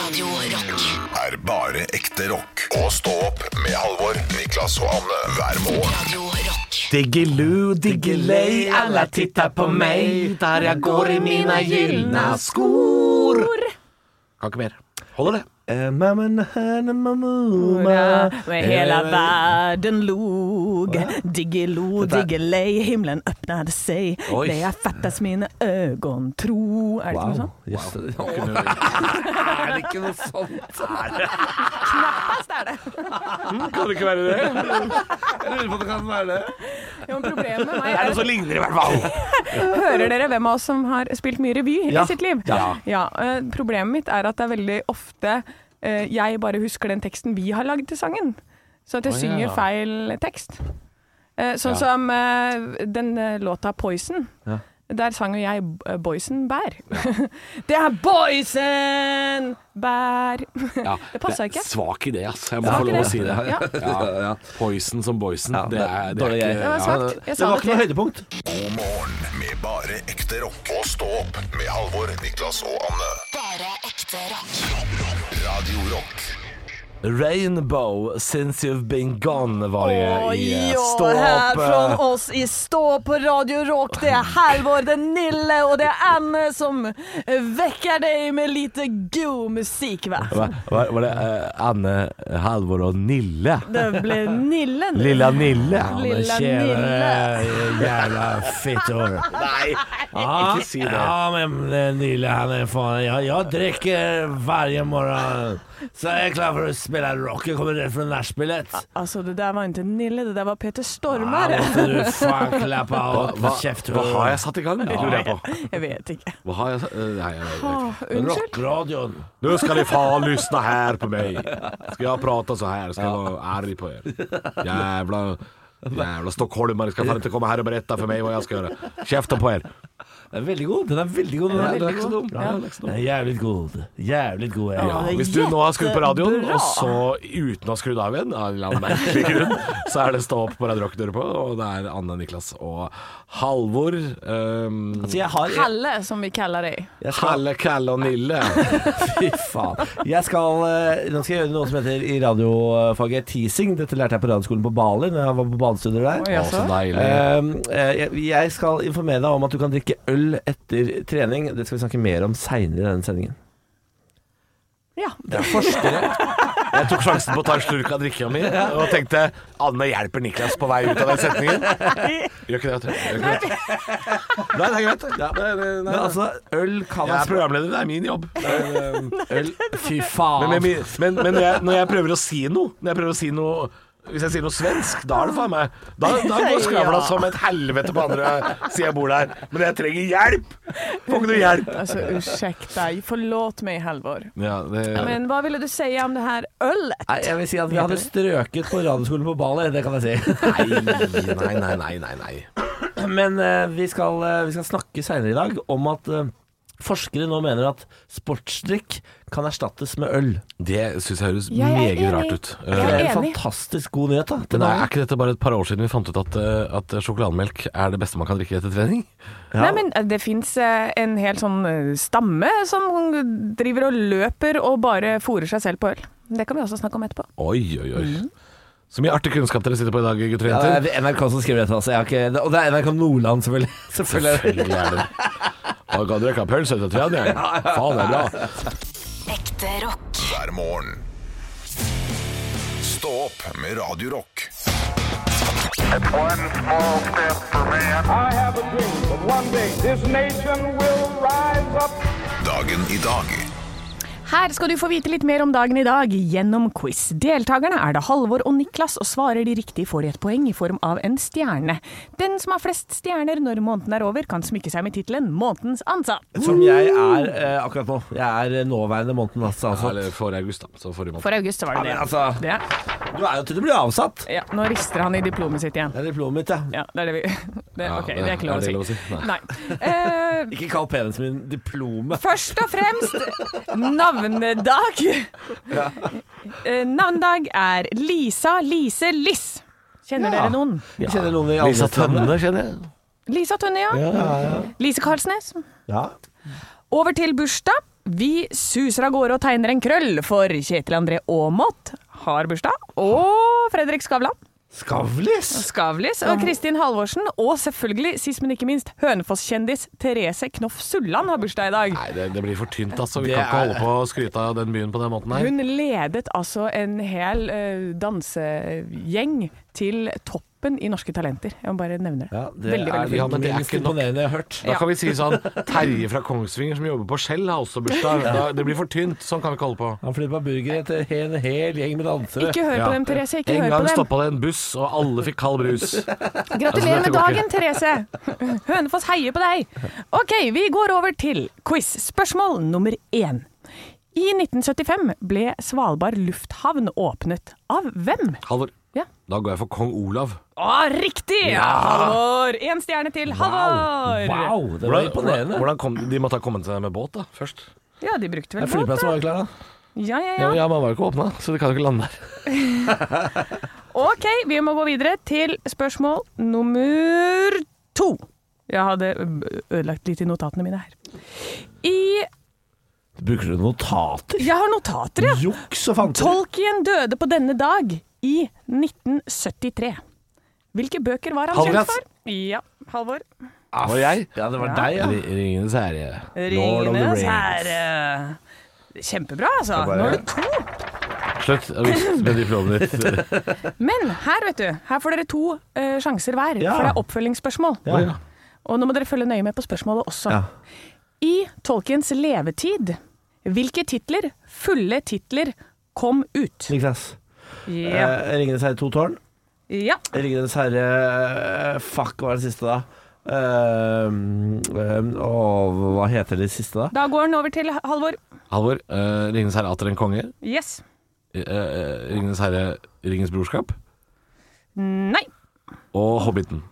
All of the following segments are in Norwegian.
Radio Rock. er bare ekte rock. Og stå opp med Halvor, Niklas og Anne hver morgen. Radio Rock. Diggiloo, diggiley, alla tittar på meg der jeg går i mine gylne skor. Kan ikke mer. Holder det. Med hela världen log Diggiloo, Detta- diggelej, himlen öppnade sig Oj. När jag fattas mina ögon tro Är det wow. sånt? Yes. Er det ikke noe sånt? Fast är det! Mm, Kan det ikke være det? Jeg lurer på om det kan være det. Jag har problem Det med er mig. noe som ligner, i hvert fall. Hører dere hvem av oss som har spilt mye revy Ja. i sitt liv? Ja. eh, problemet mitt er at det er veldig ofte eh, jeg bare husker den teksten vi har lagd til sangen. Så at jeg Å, ja. synger feil tekst. Eh, sånn som eh, den eh, låta 'Poison'. Ja. Der sang jo jeg eh, 'Boysen bær'. det er 'Boysen bær'! det passer ikke. Svak idé, ass. Jeg må Svak få lov å idé. si det. Ja. Ja. Poison som boysen. Ja, det er, det er dårlig ikke greie. Det var ja, svakt. Jeg Det sa var det ikke noe til. høydepunkt. God morgen med bare ekte rock. Og stå opp med Halvor, Niklas og Anne. Bare ekte rock. Radio Rock. Rainbow, since you've been gone, var det i eh, Og Stå her opp. från eh, oss i Stå på Radio Rock. Det er Halvor, det er Nille og det er Anne som vekker deg med lite god musikk, va? Var, var var det eh, Anne, Halvor og Nille? Det ble Nille nå. Lilla Nille. Lilla Nille. Tjenere, jævla eh, fittor. Nei, ikke si det. Ja, men eh, Nille, han er faen Jeg, jeg drikker hver morgen, så jeg er klar for å spille rock. Jeg kommer rett fra nachspielet. Altså, det der var ikke Nille, det der var Peter Ja, Stormare. måtte du faen klappe av Hva, kjeft. hva har jeg satt i gang? Lurer jeg på. Jeg vet ikke. Hva har jeg, eh, nei, jeg vet ikke. Åh, unnskyld. Rockradioen. Nå skal de faen lyssna her på meg. Skal jeg prata så her? Skal jeg være arg på er? Jævla Jævla stockholmare skal faen ikke komme her og berette for meg hva jeg skal gjøre. Kjeften på er. Den er veldig god. Den er veldig god. Den er, ikke så dum. Ja, det er ikke så den dum. er jævlig god. Jævlig god. jeg. Ja, hvis du nå har skrudd på radioen, og så uten å ha skrudd av igjen, av en eller annen merkelig grunn, så er det Stå opp på Radio Rock du hører på, og det er Anne, Niklas og Halvor. Um, Så Altså, jeg har Kalle, som vi kaller deg. jeg skal- Halle, Kalle og Nille. Fy faen. Jeg skal, eh, nå skal jeg gjøre noe som heter i radiofaget teasing. Dette lærte jeg på radioskolen på Bali når jeg var på badestudier der. Oi, Å, så altså. deilig. Ehm, eh, jeg- jeg skal informere deg om at du kan drikke øl etter trening. Det skal vi snakke mer om seinere i denne sendingen. Ja. Jeg tok sjansen på å ta en slurk av drikka mi, og tenkte Anne hjelper Niklas på vei ut av den setningen. Gjør ikke det, vet du. Gjør ikke det. Nei, det er greit. Ja, det, det, nei, Men altså, øl kan Jeg er altså programleder, det er min jobb. øl, Fy faen. Men, men, men, men når, jeg, når jeg prøver å si noe Når jeg prøver å si noe hvis jeg sier noe svensk, da er det faen meg Da, da går skravla som et helvete på andre siden jeg bor der. Men jeg trenger hjelp! Får ikke noe hjelp. Altså, Alltså ursäkta, förlåt mig Halvor. Ja, det, Men vad ville du säga om det här ölet? Nei, jeg vil si at vi hadde strøket på radioskolen på Bali, det kan jeg si. nei, nei, nei, nei, nei. Men eh, vi, skal, eh, vi skal snakke seinere i dag om at eh, forskere nå mener at sportsdrikk kan erstattes med øl. Det syns jeg høres Jeg er meget enig. meget rart rart ut. ut. Eh, Det Jeg er er Eh, en enig. fantastisk god nyhet, da. til Men mange. er ikke dette bare et par år siden vi fant ut at, eh, at sjokolademelk er det beste man kan drikke etter trening? Nei, men eh, det finnes eh, en hel sånn eh, stamme som driver og løper og bare fôrer seg selv på øl. Det kan vi også snakke om etterpå. Oi, oi, oi. Mm. Så mye artig kunnskap dere sitter på i dag, gutter og Ja, jenter. det er NRK som skriver dette, altså. Jeg har ikke, og det er NRK Nordland, selvfølgelig. selvfølgelig. er det- Selvfølgelig er det Å, kan du ikke ha pølse etter trening? Faen, det er bra. Ekte rock. Hver morgen. Stå opp med Radio Rock. One small step for man. I have a dream that one day this nation will rise up. Dagen i dag. Her skal du få vite litt mer om dagen i dag gjennom quiz. Deltakerne er da Halvor og Niklas, og svarer de riktig får de et poeng i form av en stjerne. Den som har flest stjerner når måneden er over, kan smykke seg med tittelen 'Månedens ansatt'. Som jeg er eh, akkurat nå. Jeg er eh, nåværende måneden, altså. Ja, altså. eller forrige august, da. Så forrige måned. For august så var det det. Ja, men altså- det. er- Du er jo til du blir avsatt. Ja, nå rister han i diplomet sitt igjen. Det er diplomet mitt, ja. Ja, det er det vi det, Ja, Ok, det er ikke lov å det si. lov å si? Nei. Nei. Eh, Ikke kall penisen min diplomet. først og fremst navnedag. Eh, navnedag er Lisa Lise Liss. Kjenner Ja. dere noen? Jeg kjenner noen i andre steder. kjenner jeg. Lisa Tønne, ja. Lise Karlsnes. Ja. Over til bursdag. Vi suser av gårde og tegner en krøll, for Kjetil André Aamodt har bursdag. Og Fredrik Skavlan. Skavlis! Skavlis og Kristin Halvorsen. Og selvfølgelig, sist men ikke minst, Hønefoss-kjendis Therese Knoff Sulland har bursdag i dag. Nei, det, det blir for tynt, altså. Vi Det kan ikke er- holde på å skryte av den byen på den måten her. Hun ledet altså en hel eh, dansegjeng til toppen i Norske Talenter. Jeg må bare nevne det. Ja, det veldig, er veldig Ja, fint. men det det er minst ikke nok. imponerende jeg har hørt. Da kan vi si sånn Terje fra Kongsvinger som jobber på Skjell, har også bursdag. Da, det blir for tynt. Sånn kan vi ikke holde på. Han flippa burger etter en hel gjeng med dansere. Ikke hør Ja. på dem, Therese. Ikke En hør gang på dem. stoppa det en buss, og alle fikk kald brus. Gratulerer Altså, dette med går dagen, Therese! Hønefoss heier på deg! Ok, vi går over til quiz. Spørsmål nummer én. I 1975 ble Svalbard lufthavn åpnet av hvem? Halvor, Ja. da går jeg for kong Olav. Å, riktig! Halvor! Én stjerne til Halvor! Wow, det var imponerende. hvordan kom, de måtte ha kommet seg med båt da, først? Ja, de brukte vel båt, Flyplassen da. var jo klar, da. Ja, ja, Ja, ja. Man var jo ikke åpna, så de kan jo ikke lande der. Ok, vi må gå videre til spørsmål nummer to. Jeg hadde ø- ødelagt litt i notatene mine her. I Bruker du notater? Jeg har notater, ja! Juks og fanter. Tolkien døde på denne dag i 1973. Hvilke bøker var han Halvor, kjent for? Ja, Halvor. Var det jeg? Ja, det var Ja. deg, ja. Ah, Ringenes herre. Ringenes herre. Kjempebra, altså. Nå er det to. Slutt å vise med diplomet ditt. Men her, vet du, her får dere to eh, sjanser hver, Ja. for det er oppfølgingsspørsmål. Ja. Og nå må dere følge nøye med på spørsmålet også. Ja. I Tolkiens levetid, hvilke titler, fulle titler, kom ut? Niklas. Ja. Eh, Ringenes herre to tårn. ja. Ringenes herre eh, Fuck, hva er det siste, da? Eh, eh, åh, hva heter det siste, da? Da går den over til Halvor. Halvor, eh, Ringenes herre atter en konge. Yes. Eh, eh, Ringenes herre Ringens brorskap. Nei. Og Hobbiten.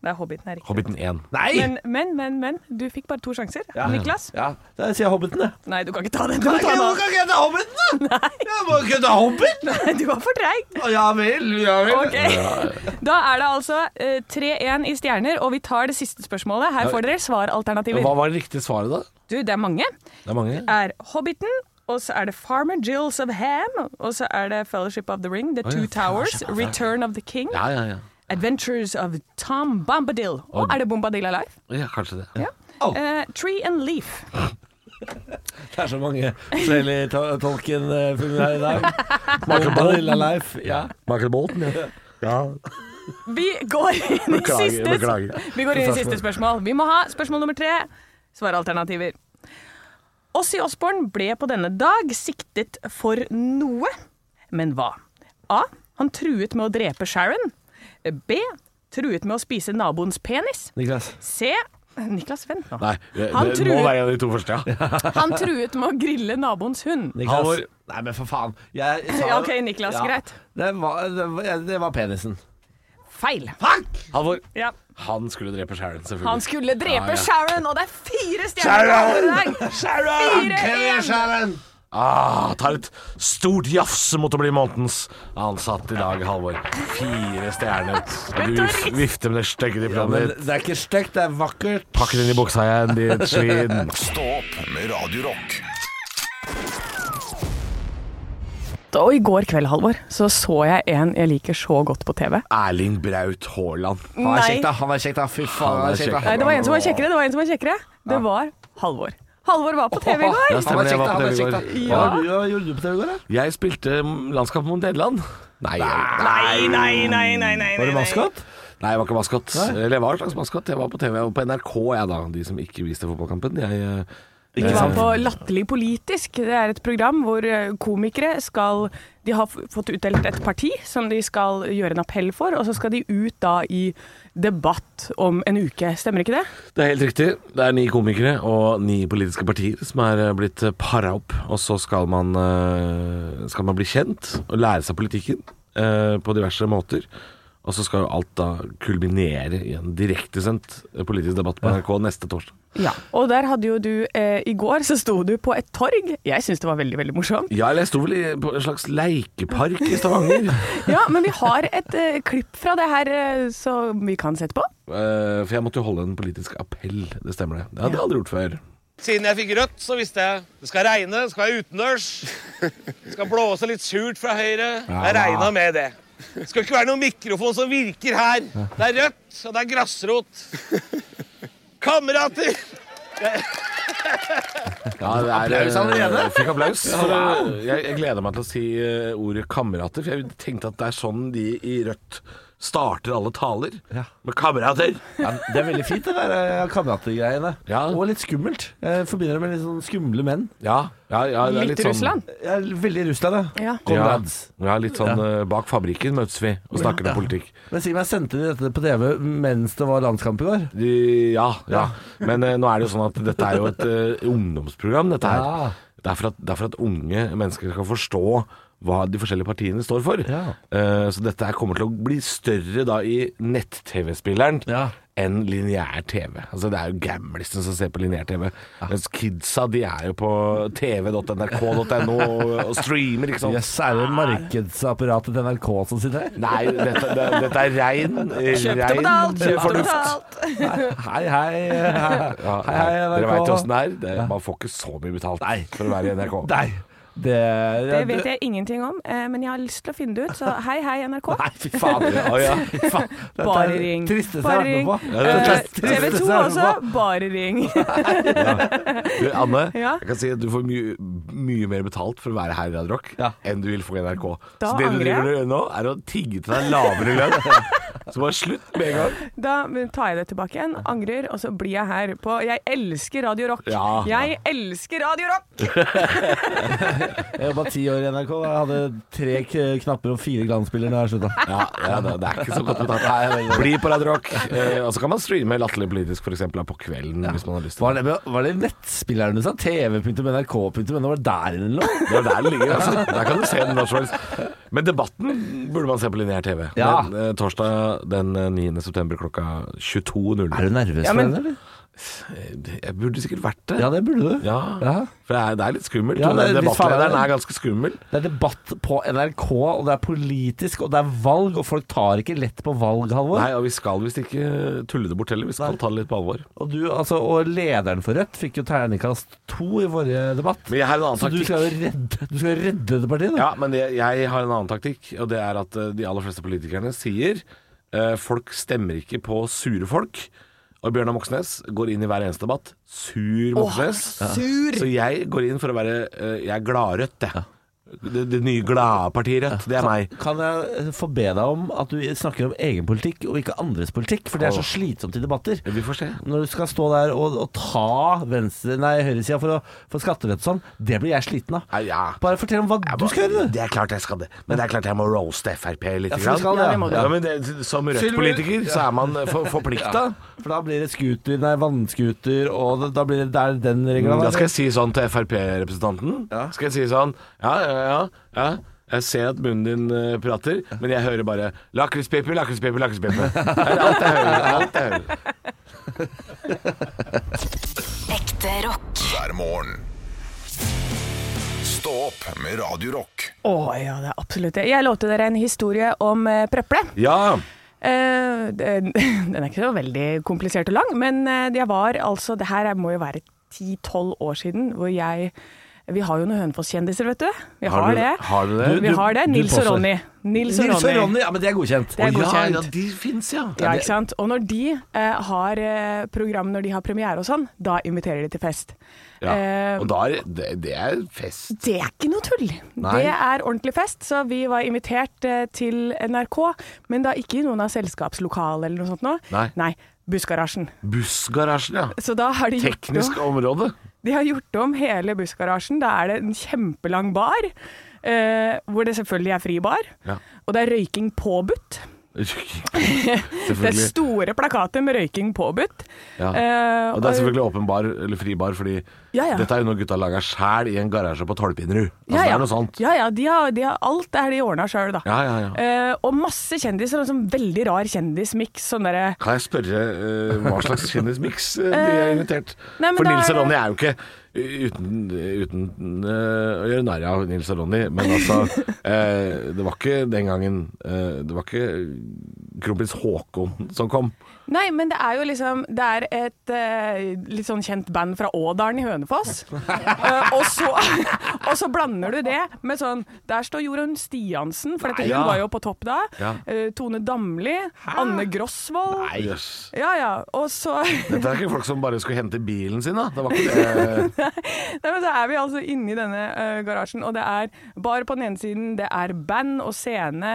Det er Hobbiten er riktig. Hobbiten 1. Nei! Men, men, men, men. Du fikk bare to sjanser. Niklas? Ja, da sier jeg Hobbiten, jeg. Nei, du kan ikke ta den. Du, kan ta den. ikke hete Hobbiten, da? Jeg må ikke hete Hobbit! Nei, du var for treig. Ja vel, ja vel. Ok. Da er det altså eh, 3-1 i stjerner, og vi tar det siste spørsmålet. Her får dere svaralternativer. Hva var det riktige svaret, da? Du, det er mange. Det er mange. er Hobbiten, og så er det Farmer Jills of Ham, og så er det Fellowship of the Ring, The Two Towers, Return of the King, Ja, ja, ja. Adventures of Tom Bombadil. Og er det Bombadil Alive? ja kanskje det. Eh, tree and Leaf. Det er så mange forskjellige to- Tolkien-filmer her i dag. Vanilla Life. Ja. Michael Bolton, ja. Vi går inn i Beklager, siste, beklager. Vi går inn i siste spørsmål. Vi må ha spørsmål nummer tre. Svaralternativer. Ossi Osborn ble på denne dag siktet for noe. Men hva? A. Han truet med å drepe Sharon. B. Truet med å spise naboens penis. Niklas. C. Niklas, vent nå. Nei, det, Han det må truer- være en av de to første, ja. Han truet med å grille naboens hund. Niklas. Halvor. Nei, men for faen. Jeg sa Ja, ok, Niklas, greit. Det var, det, var, det var penisen. Feil. Halvor, Ja. han skulle drepe Sharon, selvfølgelig. Han skulle drepe Ja, ja. Sharon, og det er fire stjerner! i dag. Fire, en. Ah, tar et stort jafs mot å bli månedens ansatt i dag, Halvor. Fire stjerner. Du vif- vifter med det stygge diplomet Men ditt. det er ikke stygt, det er vakkert. Pakk det inn i buksa igjen, ditt svin. Stå opp med Radio Rock. Og i går kveld, Halvor, så så jeg en jeg liker så godt på TV. Erling Braut Haaland. Han er Nei. kjekk, da. Han er kjekk, da. Fy faen, han er kjekk, da. Nei, det var en som var kjekkere, det var en som var kjekkere. Det var Halvor. Halvor var på TV i går. Ja, stemmer det. Jeg var på Han er TV i kjekk, da. går. Hva var det du- hva gjorde du på TV i går, da? Jeg spilte mm, landskap mot Nederland. Nei, jeg- Nei, nei, nei, nei, nei. Var du maskot? nei, jeg var ikke maskot. Eller jeg var en slags maskot. Jeg var på TV og på NRK, jeg da. De som ikke viste fotballkampen. Jeg eh, Vi var på Latterlig politisk. Det er et program hvor eh, komikere skal De har f- fått utdelt et parti som de skal gjøre en appell for, og så skal de ut da i debatt om en uke. Stemmer ikke det? Det er helt riktig. Det er ni komikere og ni politiske partier som er eh, blitt eh, para opp. Og så skal man, eh, skal man bli kjent og lære seg politikken eh, på diverse måter. Og så skal jo alt da kulminere i en direktesendt eh, politisk debatt på NRK neste torsdag. Ja. Og der hadde jo du eh, I går så sto du på et torg. Jeg syns det var veldig, veldig morsomt. Ja, eller jeg sto vel i på en slags leikepark i Stavanger. Ja, men vi har et eh, klipp fra det her eh, som vi kan sette på. Eh, for jeg måtte jo holde en politisk appell, det stemmer det. Det hadde jeg aldri gjort før. Siden jeg fikk rødt, så visste jeg det skal regne, det skal være utendørs. Det skal blåse litt surt fra høyre. Jeg regna med det. Det skal ikke være noen mikrofon som virker her. Det er rødt, og det er grasrot. Kamerater! applaus allerede. eh, Jeg fikk applaus. Så Jeg, jeg gleder meg til å si eh, ordet kamerater, for jeg tenkte at det er sånn de i Rødt starter alle taler. Med kamerater. Ja, det er veldig fint, det der eh, kamerategreiene. Ja. Og litt skummelt. Jeg forbinder det med litt sånn skumle menn. Ja, ja, ja det er Litt litt sånn Russland. Jeg er veldig i Russland, jeg. Ja. Ja, Comrades. ja, litt sånn eh, bak fabrikken møtes vi og snakker om politikk. Men si meg, sendte de dette på TV mens det var landskamp i går? De- Ja, ja. Men eh, nå er det jo sånn at dette er jo et eh, ungdomsprogram, dette Ja. her. Det er, for at, det er for at unge mennesker skal forstå hva de forskjellige partiene står for. Ja. Eh, så dette her kommer til å bli større da i nett-TV-spilleren Ja. enn lineær TV. Altså Det er jo gamlisten som ser på lineær TV. Mens kidsa de er jo på tv.nrk.no og, og streamer, ikke sant. Jøss, er det markedsapparatet til NRK som sitter her? Nei, dette, det, dette er rein, rein betalt. Hei, hei. Hei, Ja, hei, hei Dere NRK. veit åssen det er. Det, man får ikke så mye betalt for å være i NRK. Nei, det Det vet jeg ingenting om, eh, men jeg har lyst til å finne det ut, så hei hei, NRK. Nei, fy faen. Å, ja. Faen, dette er Bare det ring. Tristeste Bare jeg ring. har vært med på. det er Eh, det tristeste TV jeg 2 har vært også, med på. bare ring. Du, Anne, Ja. jeg kan si at du får mye, mye mer betalt for å være her i Radio Rock Ja. enn du vil få i NRK. Da så det du angrer driver og gjør nå, er å tigge til deg lavere lønn. Så bare slutt med en gang. Da tar jeg det tilbake igjen, angrer, og så blir jeg her på Jeg elsker Radio Rock! Ja. Jeg elsker Radio Rock! Jeg jobba ti år i NRK. Jeg hadde tre k- knapper og fire glansbilder da jeg slutta. Ja, ja det, det er ikke så godt betalt. Bli på Radio Rock. Eh, og så kan man streame Latterlig politisk f.eks. på kvelden hvis man har lyst Var til det. det, var det nettspilleren du sa? tv.nrk.no? Var det der inne eller noe? Det er der det ligger. Altså. Der kan du se den når som helst. Men Debatten burde man se på lineær TV. Ja. Den, eh, torsdag den eh, 9. september klokka 22.00. Er du nervøs Ja, men- for den, eller? Jeg burde sikkert vært det. Ja, det burde du. Ja. Ja. For det er, det er litt skummelt. Ja, og det er den litt Debattlederen farlig. er ganske skummel. Det er debatt på NRK, og det er politisk, og det er valg, og folk tar ikke lett på valg, Halvor. Nei, og vi skal visst ikke tulle det bort heller. Vi skal Nei. ta det litt på alvor. Og, du, altså, og lederen for Rødt fikk jo terningkast to i forrige debatt. Men jeg har en annen Så du taktikk. skal jo redde, du skal jo redde det partiet, du. Ja, men jeg, jeg har en annen taktikk, og det er at eh, de aller fleste politikerne sier eh, folk stemmer ikke på sure folk. Og Bjørnar Moxnes går inn i hver eneste debatt. Sur Moxnes. Så jeg går inn for å være eh, Jeg er gladrødt, jeg. Det, det nye glade partiet Rødt. Det er meg. Kan jeg få be deg om at du snakker om egen politikk og ikke andres politikk? For det er så slitsomt i debatter. Vi får se. Når du skal stå der og, og ta venstre, nei, høyresida for, å- for skattelette og sånn, det blir jeg sliten av. Nei, ja. Bare fortell om hva Jeg du må- skal gjøre. du. Det er klart jeg skal det. Men det er klart jeg må roaste Frp litt. Ja, for grann. du skal det, ja. Ja, det må du. Ja, men det, som Rødt-politiker så er man for, forplikta. For da blir det scooter, nei, vannscooter, og da- da blir det der den regla. Da skal jeg si sånn til Frp-representanten. Skal jeg si sånn Ja, ja, ja. ja. Jeg ser at munnen din eh, prater, men jeg hører bare 'lakrispipe, lakrispipe, lakrispipe'. Det er alt jeg hører. det er Alt jeg hører. Ekte rock. hver morgen. Stå opp med Radio Rock. Å ja, det er absolutt det. Jeg lovte dere en historie om eh, prøple. Ja. Eh, den, den er ikke så veldig komplisert og lang, men eh, jeg var altså Det her er- må jo være 10-12 år siden hvor jeg Vi har jo noen Hønefoss-kjendiser, vet du. Vi har, du- det. har du det? Vi Du- du- har det. du Nils og påstår. Ronny. Nils og Nils og Ronny. Ronny, ja, men det er godkjent. Det er godkjent. Ja, de fins, ja. Ja, ikke sant? Og når de eh, har eh, program når de har premiere og sånn, da inviterer de til fest. ja. Eh, Og da er det, det er fest. det er ikke noe tull. Nei. Det er ordentlig fest. Så vi var invitert eh, til NRK, men da ikke i noen av selskapslokalene eller noe sånt nå. Nei. bussgarasjen. Bussgarasjen, ja. Så da har de gjort Teknisk om, område. de har gjort om hele bussgarasjen. Da er det en kjempelang bar, eh, hvor det selvfølgelig er fri bar. Ja. Og det er røyking påbudt. Selvfølgelig. Det er store plakater med røyking påbudt. Ja. Eh, Og det er selvfølgelig åpen bar, eller fri bar, fordi Ja, ja. dette er jo noe gutta lager sjæl i en garasje på Tolpinrud. Altså, Ja, Det ja. er noe sånt. Ja, ja, de har, de har, alt er de ordna sjøl, da. Ja, ja, ja. Eh, og masse kjendiser, og sånn veldig rar kjendismiks. Sånn derre Kan jeg spørre eh, hva slags kjendismiks eh, de er invitert? nei, men For da er Nils og det- Ronny er jo ikke Uten, uten eh, å gjøre narr av Nils og Ronny, men altså eh, Det var ikke den gangen eh, Det var ikke kronprins Haakon som kom. Nei, men det er jo liksom Det er et eh, litt sånn kjent band fra Ådalen i Hønefoss. Eh, og, så, og så blander du det med sånn Der står Jorunn Stiansen, for dette, hun var jo på topp da. Ja. Eh, Tone Damli. Anne Grosvold. Jøss. Ja ja. Og så Dette er ikke folk som bare skulle hente bilen sin, da. Det var ikke det. Nei, men så er vi altså inne i denne eh, garasjen, og det er bar på den ene siden, det er band og scene,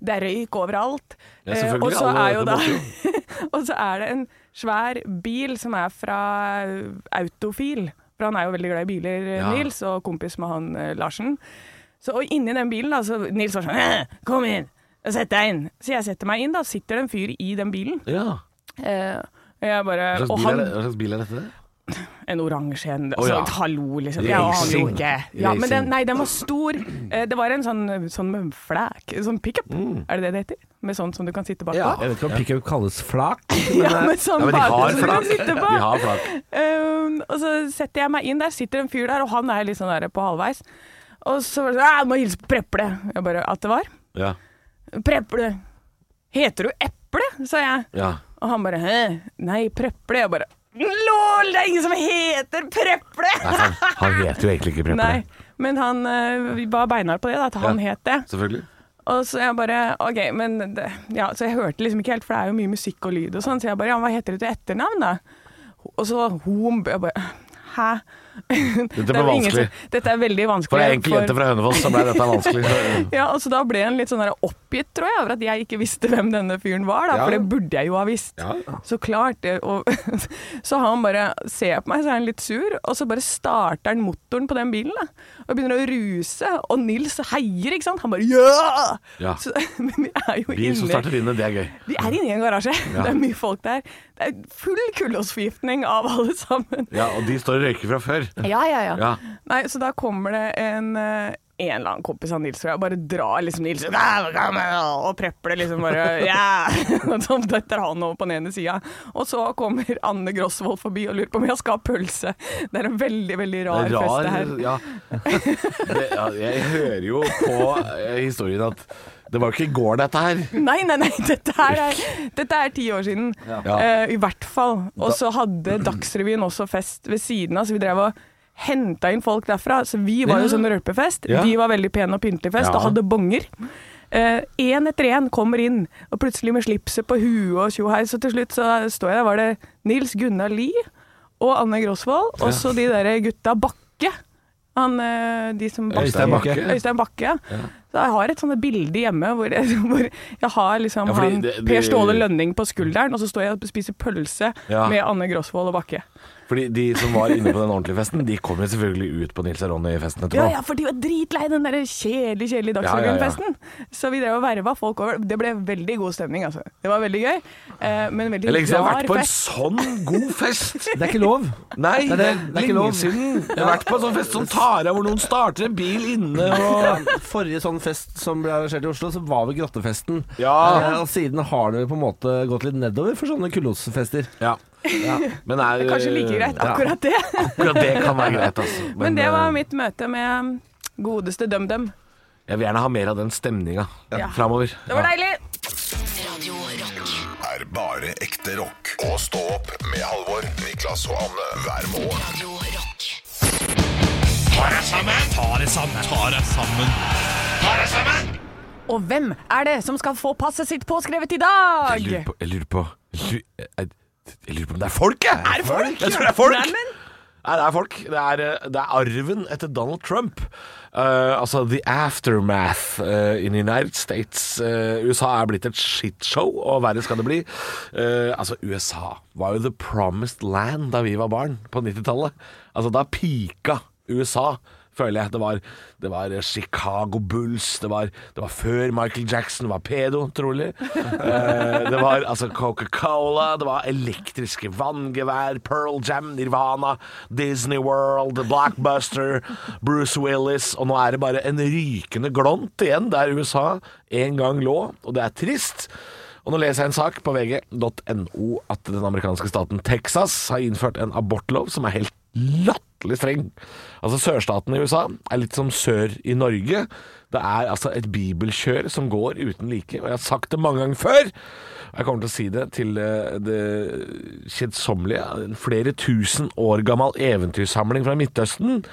det er røyk overalt. Ja, Eh, selvfølgelig, og så alle er jo det da måtte Og så er det en svær bil som er fra eh, Autofil, for han er jo veldig glad i biler, eh, Ja. Nils, og kompis med han eh, Larsen. Så og inni den bilen, da, så Nils var sånn «Eh, Kom inn! Sett deg inn! Så jeg setter meg inn, da sitter det en fyr i den bilen. Ja. Eh, og jeg bare Hva slags Og bil er han det- hva slags bil er dette? en oransje en Å, ja. altså, Hallo, liksom. Jeg aner jo Racing. ikke. Ja, men den, Racing. nei, den var stor. Eh, Det var en sånn, sånn med flæk, sånn pickup. Mm. Er det det det heter? Med sånn som du kan sitte bakpå? Jeg vet ikke om pickup kalles flak. Ja, med sånn Ja, men de bakpå har som du flak. kan De sitte på. har flak. Um, og så setter jeg meg inn, der sitter en fyr der, og han er litt sånn der på halvveis. Og så var det sånn «Ah, 'Jeg må hilse på Preple'. Jeg bare At det var? Ja. Preple. Heter du Eple? sa jeg. ja. Og han bare Hæ? Nei, Preple. Jeg bare LOL! Det er ingen som heter Preple! Han heter jo egentlig ikke Nei, Preple. men han eh, vi var beinhard på det, da, at han het det. Selvfølgelig. Og så jeg bare OK, men det, Ja, så jeg hørte liksom ikke helt, for det er jo mye musikk og lyd og sånn, så jeg bare Ja, hva heter du til etternavn, da? Og så Hom Jeg bare Hæ? Dette ble vanskelig. dette er veldig vanskelig. For ei enkel jente fra Hønefoss så ble dette vanskelig. Så- Ja, og så da ble han litt sånn der oppgitt, tror jeg, over at jeg ikke visste hvem denne fyren var, da, Ja. for det burde jeg jo ha visst. Så klart. det- Og, så han bare ser på meg, så er han litt sur, og så bare starter han motoren på den bilen, da, og begynner å ruse, og Nils heier, ikke sant? Han bare ja! Ja. Så, men vi er jo Bil som inne starter inne, det er gøy. vi er inne i en garasje. Det er mye folk der. Det er full kullosforgiftning av alle sammen. Ja, Og de står og røyker fra før. Ja, ja, ja. Ja. Nei, så da kommer det en eh, en eller annen kompis av Nils, tror jeg, og bare drar liksom Nils «Hva, hva, hva?» og prepper det liksom bare «Ja!» Og Så detter han over på den ene sida. Og så kommer Anne Grosvold forbi og lurer på om jeg skal ha pølse. Det er en veldig, veldig rar, fest, det her. ja. Det, ja. Jeg hører jo på eh, historien at det var jo ikke i går, dette her. Nei, nei, nei, dette her er, dette er ti år siden. Eh, I hvert fall. Og så hadde Dagsrevyen også fest ved siden av, så vi drev og henta inn folk derfra. Så vi var jo sånn rølpefest. Ja. De var veldig pen og pyntelig fest og Ja. hadde bonger. Én etter én kommer inn, og plutselig med slipset på huet og tjohei. Så til slutt så står jeg der, var det Nils Gunnar Lie og Anne Grosvold, og så de der gutta Bakke. Han, eh, de som Øystein Bakke. Øystein Bakke, ja. Så jeg har et sånt bilde hjemme hvor jeg, hvor jeg har liksom Ja, fordi han, det- det- Per Ståle Lønning på skulderen, og så står jeg og spiser pølse Ja. med Anne Grosvold og Bakke. Fordi de som var inne på den ordentlige festen, de kom jo selvfølgelig ut på Nils og Ronny-festen etterpå. Ja, ja, for de var dritlei den der kjedelige, kjedelige Dagsrevyen-festen. Så vi drev og verva folk over. Det ble veldig god stemning, altså. Det var veldig gøy, eh, men veldig Lenge siden jeg har rar vært på en fest. sånn god fest! Det er ikke lov. Nei, Det er det. det er Det er ikke lenge lov. siden. Jeg har vært på en sånn fest som tar av, hvor noen starter en bil inne og Forrige sånn fest som ble arrangert i Oslo, så var vel Grottefesten. Ja. Eh, og siden har det på en måte gått litt nedover for sånne kullosfester. Ja. Men er, Kanskje like greit, akkurat det. Ja, det kan være greit, altså. Men det eh, var mitt møte med godeste DumDum. Jeg vil gjerne ha mer av den stemninga framover. Det var deilig! Radio Rock. er bare ekte rock. Og stå opp med Halvor, Niklas og Anne hver morgen. Radio Rock. Og hvem er det som skal få passet sitt påskrevet i dag? Jeg lurer på Jeg lurer på, jeg lurer- jeg lurer på om det er folk, jeg! Er det folk? Jeg tror det er Nei, folk! men- Nei, det er folk. Det er, eh, det er arven etter Donald Trump. Eh, altså the aftermath eh, in the United States. Eh, USA er blitt et shitshow, og verre skal det bli. Eh, altså, USA var jo the promised land da vi var barn på 90-tallet. Altså, da pika USA. Føler jeg. Det var, det var Chicago Bulls, det var, det var før Michael Jackson var pedo, trolig. Eh, det var altså Coca-Cola, det var elektriske vanngevær, Pearl Jam, Nirvana, Disney World, Blockbuster, Bruce Willis, og nå er det bare en rykende glont igjen der USA en gang lå, og det er trist. Og nå leser jeg en sak på vg.no at den amerikanske staten Texas har innført en abortlov som er helt latterlig streng. Altså Sørstaten i USA er litt som sør i Norge. Det er altså et bibelkjør som går uten like, og jeg har sagt det mange ganger før. Jeg kommer til å si det til eh, det kjedsommelige. En flere tusen år gammel eventyrsamling fra Midtøsten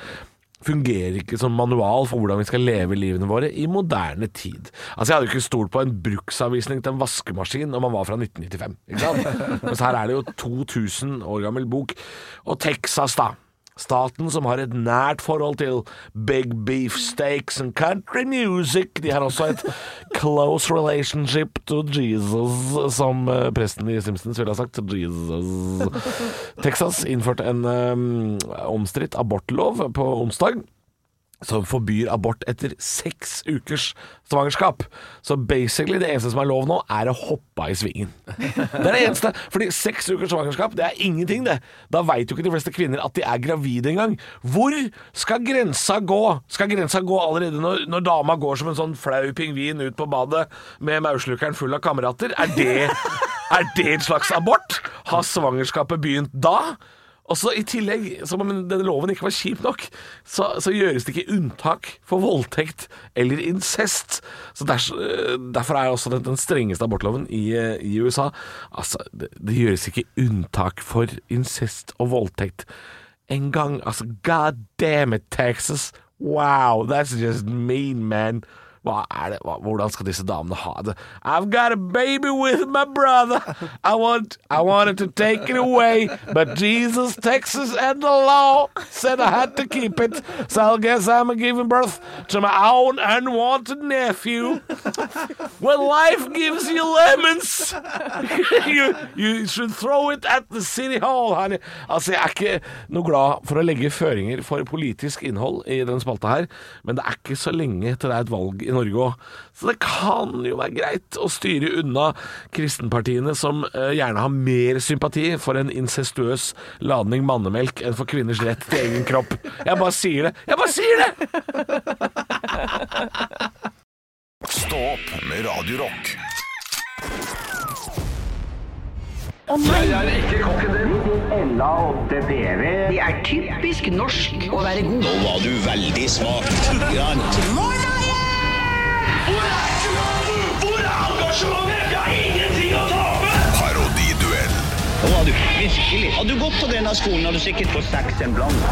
fungerer ikke som manual for hvordan vi skal leve livene våre i moderne tid. Altså, Jeg hadde jo ikke stolt på en bruksanvisning til en vaskemaskin når man var fra 1995. ikke sant? Mens her er det jo 2000 år gammel bok. Og Texas, da. Staten som har et nært forhold til big beef steaks and country music. De har også et close relationship to Jesus, som eh, presten i Simpsons ville ha sagt. Jesus. Texas innførte en eh, omstridt abortlov på onsdag som forbyr abort etter seks ukers svangerskap. Så basically det eneste som er lov nå, er å hoppe av i svingen. Det er det eneste. Fordi seks ukers svangerskap, det er ingenting, det. Da veit jo ikke de fleste kvinner at de er gravide engang. Hvor skal grensa gå? Skal grensa gå allerede når, når dama går som en sånn flau pingvin ut på badet med maurslukeren full av kamerater? Er det, er det et slags abort? Har svangerskapet begynt da? Og så I tillegg, som om denne loven ikke var kjip nok, så, så gjøres det ikke unntak for voldtekt eller incest. Så ders, øh, Derfor er også den, den strengeste abortloven i, øh, i USA Altså, det, det gjøres ikke unntak for incest og voldtekt engang. Altså, god damn it, Texas! Wow, that's just mean, man. Hva er det? Hva, hvordan skal disse damene ha det? I've got a baby with my brother. I want I wanted to take it away, but Jesus, Texas and the law said I had to keep it. So I guess I'm giving birth to my own unwanted nephew. When life gives you lemons, you, you should throw it at the city hall, honey. Altså, jeg er ikke noe glad for å legge føringer for politisk innhold i den spalta her, men det er ikke så lenge til det er et valg i Norge òg. Så det kan jo være greit å styre unna kristenpartiene som eh, gjerne har mer sympati for en incestuøs ladning mannemelk enn for kvinners rett til egen kropp. Jeg bare sier det. Jeg bare sier det! Stå opp med Radio Rock. Nå var du veldig smak. Parodiduell Nå var du virkelig. Hadde du gått på denne skolen, hadde du sikkert fått seks en blant.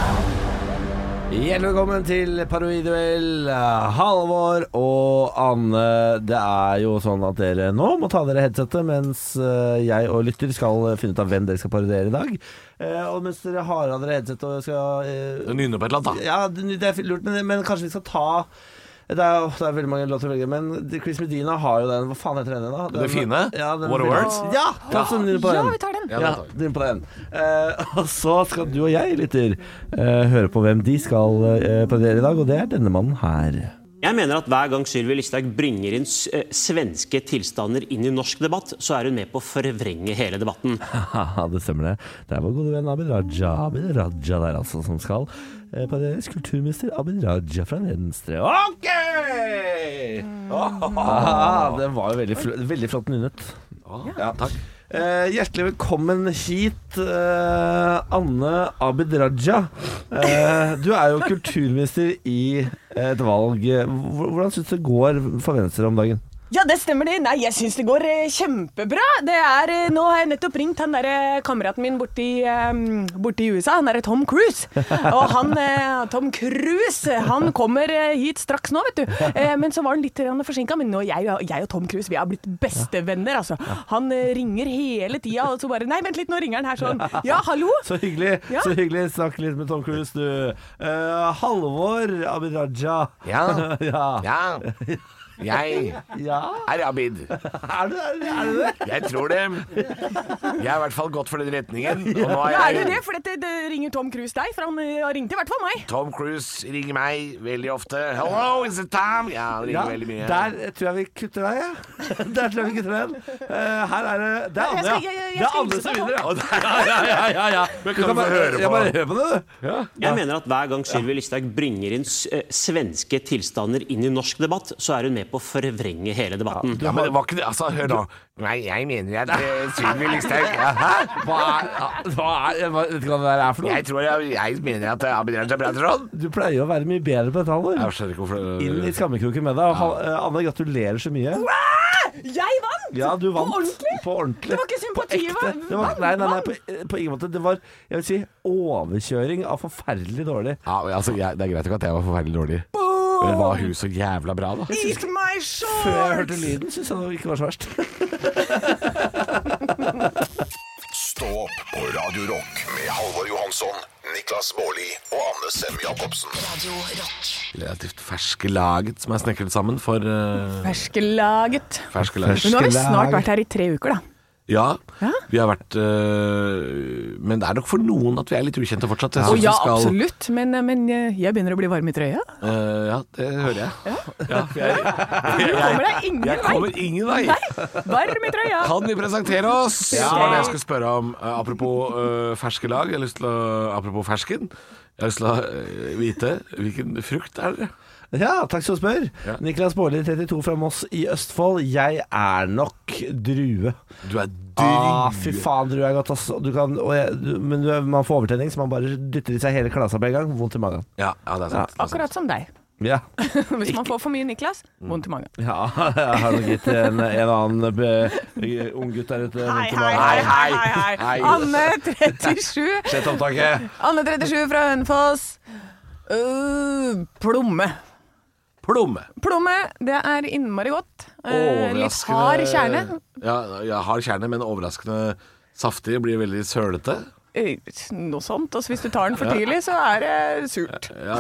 Hjertelig velkommen til Parodiduell. Halvor og Anne. Det er jo sånn at dere nå må ta dere headsetet, mens eh, jeg og lytter skal finne ut av hvem dere skal parodiere i dag. Eh, Og mens dere har av dere headsetet og skal eh, Nynne på et eller annet, da. Ja, det det er lurt, men, men kanskje vi skal ta det er, åh, det er veldig mange låter å velge, men Chris Medina har jo den. Hva faen heter den igjen, da? Den, Det fine? Ja, den, What a Words? Ja, ta oss en liten på Ja, den. vi tar den. Ja, den på den. Eh, og så skal du og jeg, lytter, eh, høre på hvem de skal uh, parodiere i dag, og det er denne mannen her. Jeg mener at hver gang Sylvi Listhaug bringer inn s- eh, svenske tilstander inn i norsk debatt, så er hun med på å forvrenge hele debatten. Haha, det stemmer det. Det er vår gode venn Abid Raja. Abid Raja der, altså, som skal eh, parodieres. Kulturminister Abid Raja fra Venstre. OK! Ah, den var jo veldig, fl veldig flott nynnet. Ja, takk. Eh, hjertelig velkommen hit, eh, Anne Abid Raja. Eh, du er jo kulturminister i et valg. Hvor- Hvordan syns du det går for Venstre om dagen? Ja, det stemmer det. Nei, jeg syns det går eh, kjempebra. Det er, eh, nå har jeg nettopp ringt han derre kameraten min borti, um, borti USA. Han derre Tom Cruise. Og han eh, Tom Cruise, han kommer eh, hit straks nå, vet du. Eh, men så var han litt forsinka. Men nå, jeg, jeg og Tom Cruise, vi har blitt bestevenner, altså. Han eh, ringer hele tida, og så bare Nei, vent litt, nå ringer han her sånn. Ja, hallo? Så hyggelig. Ja. så hyggelig Snakk litt med Tom Cruise, du. Eh, Halvor Abid Raja. Ja. ja. Ja. Jeg Ja. er Abid. Er du er, du- er du det? Jeg tror det. Jeg har i hvert fall gått for den retningen. Og nå Ja, er er det det? jeg For dette det ringer Tom Cruise deg, for han eh, har ringt i hvert fall meg. Tom Cruise ringer meg veldig ofte. 'Hello, is it time?' Ja, han ringer Ja, veldig mye. der tror jeg vi kutter deg, ja. Der tror jeg vi kutter den. Eh, her er det Det er Jeg Anne, skal, ja. jeg, jeg, Det er alle som vinner, ja. ja, ja, ja, ja, ja. Men kan Du vi få bare- høre på- ja, Bare hør på det, du. Jeg mener at hver gang Sylvi Listhaug bringer inn s- eh, svenske tilstander inn i norsk debatt, så er hun med på å forvrenge hele debatten. Ja, men det var ikke det. Altså, hør nå. Nei, jeg mener jeg det. Sylvi Listhaug. Ja, hæ? Hva er, hva er hva, Vet du hva det er for noe? Jeg tror jeg, jeg mener at eh, Abid Raja sånn. Brateron Du pleier jo å være mye bedre på dette, Halvor. Jeg skjønner ikke hvorfor Inn i skammekroken med deg. Og, Hal- eh, Anne, gratulerer så mye. Jeg vant! Ja, du vant. På ordentlig? På ordentlig. Det var ikke sympati, På ekte. Det var, nei, nei, nei, på, eh, på ingen måte. Det var jeg vil si, overkjøring av forferdelig dårlig. Ja, men altså, jeg, Det er greit nok at jeg var forferdelig dårlig. Men var hun så jævla bra, da? Eat my shorts! Før jeg hørte lyden, syns jeg det ikke var så verst. Stå opp på Radio Rock med Halvor Johansson, Niklas Baarli og Anne Sem Jacobsen. Radio Rock. Relativt ferske laget som er snekret sammen for uh, Ferskelaget. ferske laget. Men nå har vi snart vært her i tre uker, da. Ja, Ja. vi har vært øh, Men det er nok for noen at vi er litt ukjente fortsatt. Jeg Å synes ja, vi skal- absolutt. Men, eh, men jeg begynner å bli varm i trøya. øh, ja, det hører jeg. Ja, for jeg, Du kommer deg jeg ingen vei. kommer ingen vei. Varm i trøya. Kan vi presentere oss? Det var det jeg skulle spørre om. Eh, apropos øh, ferske lag. Jeg har lyst til å, apropos fersken. Jeg har lyst til å øh, vite hvilken frukt er dere? Ja, takk som spør. Ja. Niklas Baarli, 32 fra Moss i Østfold. Jeg er nok drue. Du er dygg. Ah, fy faen, drue er godt, ass. Du kan, og jeg, du, men du, man får overtenning, så man bare dytter i seg hele klasa på en gang. Vondt i magen. Ja, ja, det er sant. det er sant. Akkurat som deg. Ja, Hvis man får for mye Niklas, Mm. vondt i magen. ja jeg har nok gitt en, en annen eh, ung gutt der ute Hei, vondt i hei, magen. hei, hei, hei, Hei. Anne 37 Sett opptaket. Anne 37 fra Hønefoss Øh, Plomme Plomme. Plomme, det er innmari godt Eh, Litt Overraskende hard kjerne Ja, ja, hard kjerne, men overraskende saftig. Blir veldig sølete. Eh, Noe sånt, og så hvis du tar den for tidlig så er det surt Ja.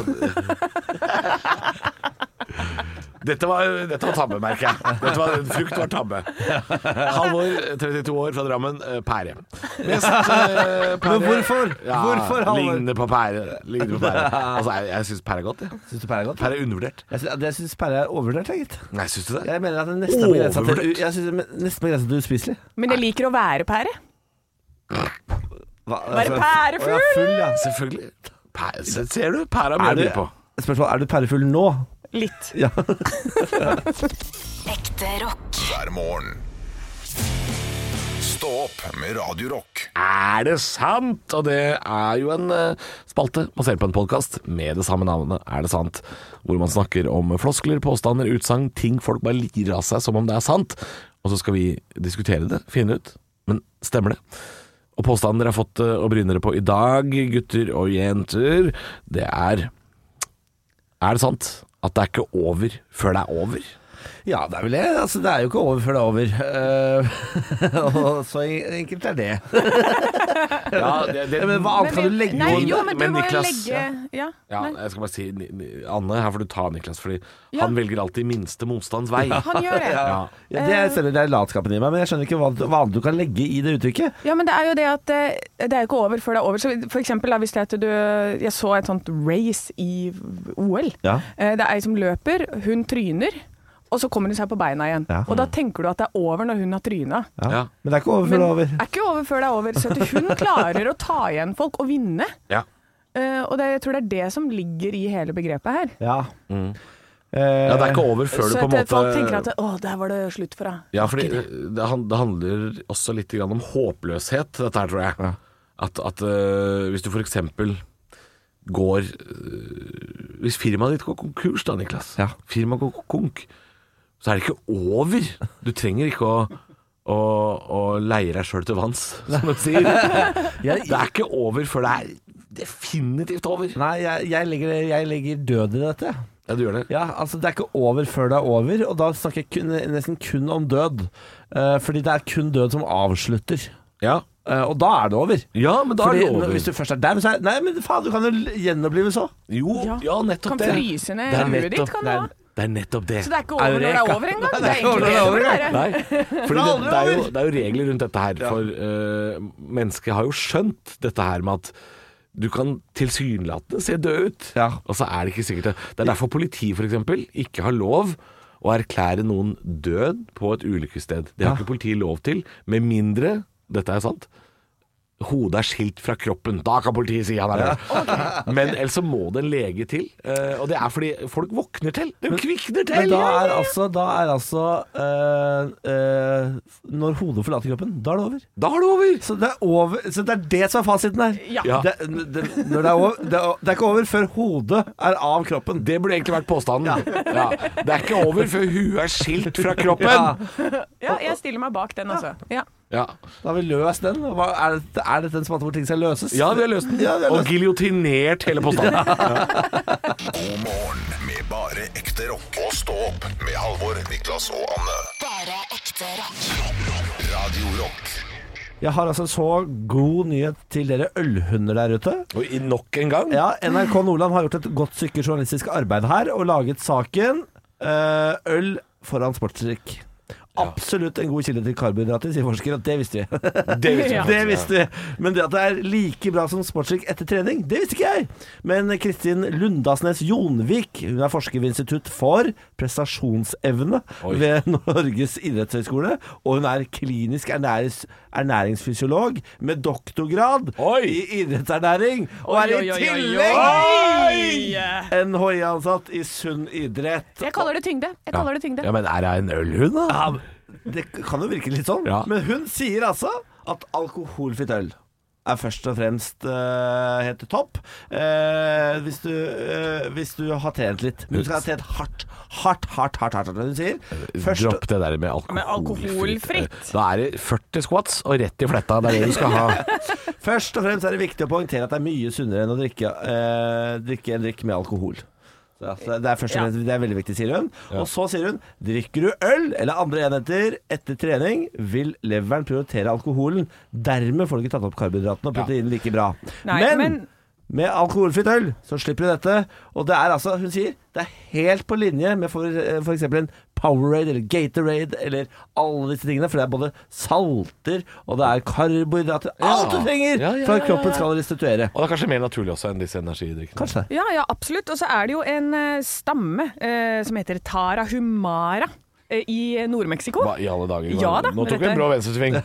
Dette var, dette var tabbe, merker jeg. Dette var, frukt var tabbe. Halvor, 32 år, fra Drammen. eh, Pære. Mest, eh, pære. Men hvorfor? Ja, Hvorfor, Halvor? Ligner på pære. Ligner på pære. Altså, jeg, jeg syns pære er godt. Jeg. Syns du pære er godt? Pære er undervurdert. Jeg syns, jeg syns pære er overvurdert, jeg, gitt. Nei, syns du det? Jeg mener at det nesten er på grensa til, Overvurdert? jeg synes det er nesten på grensa til uspiselig. Men jeg liker å være pære Hva, altså- Være pærefull! Å, ja, full, ja. Selvfølgelig. Pære, se- ser du? Pære har mye Er å by du, på. spørsmål, er du pærefull nå? Litt Ja. Ekte rock. hver morgen. Stå opp med Radio Rock. Er det sant? Og det er jo en eh, spalte basert på en podkast med det samme navnet, Er det sant? Hvor man snakker om floskler, påstander, utsagn, ting folk bare lirer av seg som om det er sant. Og så skal vi diskutere det, finne ut. Men stemmer det? Og påstanden dere har fått eh, å bryne dere på i dag, gutter og jenter, det er Er det sant at det er ikke over før det er over? ja, det er vel det. Altså, det er jo ikke over før det er over. Eh, og så enkelt er det. Ja, det, det, Men hva annet kan du legge nei, inn- jo, men du men må jo Niklas, legge ja. Ja, nei. jeg skal bare si Ni- Ni- Anne, her får du ta Niklas, fordi Ja. han velger alltid minste motstands vei. Han gjør det Ja. Ja, det eh, stemmer, det er latskapen i meg, men jeg skjønner ikke hva, hva annet du kan legge i det uttrykket. Ja, men det er jo det at eh, det er jo ikke over før det er over. Så for eksempel da, hvis det er at du Jeg så et sånt race i OL. Ja. Eh, Det er ei som løper, hun tryner, og så kommer hun seg på beina igjen. Ja. Og da tenker du at det er over når hun har tryna. Ja. Ja. Men det er ikke over før Men det er over. er ikke over før det er over. Så at hun klarer å ta igjen folk og vinne. Ja. Eh, og det, jeg tror det er det som ligger i hele begrepet her. Ja. Mm. Eh, ja, det er ikke over før du så på at en eh, måte folk tenker at å, der var det slutt for henne. Ja, fordi det, han- det handler også litt grann om håpløshet, dette her, tror jeg. At, at øh, hvis du for eksempel går øh, Hvis firmaet ditt går konkurs, da, Niklas. Ja. Firmaet går konk, så er det ikke over. Du trenger ikke å å, å leie deg sjøl til vanns, som de sier. Jeg- Det er ikke over før det er definitivt over. Nei, jeg, jeg, legger, jeg legger død i dette. Ja, du gjør det. Ja, altså Det er ikke over før det er over, og da snakker jeg kun, nesten kun om død. Eh, fordi det er kun død som avslutter. Ja, Eh, og da er det over. Ja, men da fordi, er det over. når- Hvis du først er der, så er Nei, men faen, du kan jo l- gjenopplives òg. Jo, ja, Ja. nettopp Kan det. fryse ned Det er huet ditt, nettopp- kan det det er- ha. Det er nettopp det. Så det er ikke over når det er over engang. Det er egentlig det det burde være. Nei, fordi det, det, er jo, det er jo regler rundt dette her. For eh, mennesket har jo skjønt dette her med at du kan tilsynelatende se død ut, Ja. og så er det ikke sikkert det. Det er derfor politiet f.eks. ikke har lov å erklære noen død på et ulykkessted. Det har ikke politiet lov til, med mindre dette er sant. Hodet er skilt fra kroppen. Da kan politiet si han er død. Men ellers så må det en lege til. eh, og det er fordi folk våkner til. De kvikner til! Men da er altså, da er altså eh, eh, Når hodet forlater kroppen, da er det over. Da er det over! Så det er, over, så det, er det som er fasiten her. Ja. Det, det, når det, er over, det, er, det er ikke over før hodet er av kroppen. Det burde egentlig vært påstanden. Ja. Det er ikke over før huet er skilt fra kroppen. Ja. Ja, jeg stiller meg bak den, altså. Ja. Ja, Da har vi løst den. Hva, er, det, er dette en spalte hvor ting skal løses? ja vi har løst den. Ja, vi har Og giljotinert hele påstanden. God morgen med bare ekte rock. Og stå opp med Halvor, Niklas og Anne. Bare ekte rock. Radio Rock Jeg har altså en så god nyhet til dere ølhunder der ute. Og i nok en gang. Ja, NRK Nordland har gjort et godt stykke journalistisk arbeid her og laget saken eh, Øl foran sportsdrikk. Absolutt en god kilde til karbohydrater, sier forskere. og Det visste vi. Det visste vi. Det visste vi. Men det at det er like bra som sportsdrikk etter trening, det visste ikke jeg. Men Kristin Lundasnes Jonvik, hun er forsker ved Institutt for prestasjonsevne ved Norges idrettshøgskole. Og hun er klinisk ernærings ernæringsfysiolog med doktorgrad Oi. i idrettsernæring. Og er i tillegg Oi! NHI-ansatt i Sunn idrett. Jeg kaller det tyngde. Jeg kaller det tyngde. Ja, men er jeg en ølhund, da? Ja, det kan jo virke litt sånn, Ja. men hun sier altså at alkoholfritt øl er først og fremst eh, helt topp eh, hvis, du, eh, hvis du har trent litt. Men du skal ha trent hardt, hardt, hardt, hardt. hardt, hardt hun sier. Først, Eh, Dropp det der med Med alkoholfritt. alkoholfritt. Da er det 40 squats og rett i fletta. Det er det du skal ha. først og fremst er det viktig å poengtere at det er mye sunnere enn å drikke, eh, drikke en drikk med alkohol. Så at Det er, først og fremst, det er veldig viktig, sier hun. Og så sier hun drikker du øl eller andre enheter etter trening, vil leveren prioritere alkoholen. Dermed får du ikke tatt opp karbohydratene og proteinene like bra. Nei, men men- med alkoholfritt øl så slipper du dette. Og det er altså, hun sier, det er helt på linje med for, eh, for eksempel en Powerade eller Gatorade eller alle disse tingene. For det er både salter, og det er karbohydrater. Alt du trenger Ja, ja, ja, for ja, at kroppen skal restituere. Altså, Og det er kanskje mer naturlig også enn disse energidrikkene. Kanskje. Ja, ja, absolutt. Og så er det jo en eh, stamme eh, som heter Tarahumara eh, i Nord-Mexico. Hva i alle dager? Ja da, Nå tok vi dette- en brå venstresving.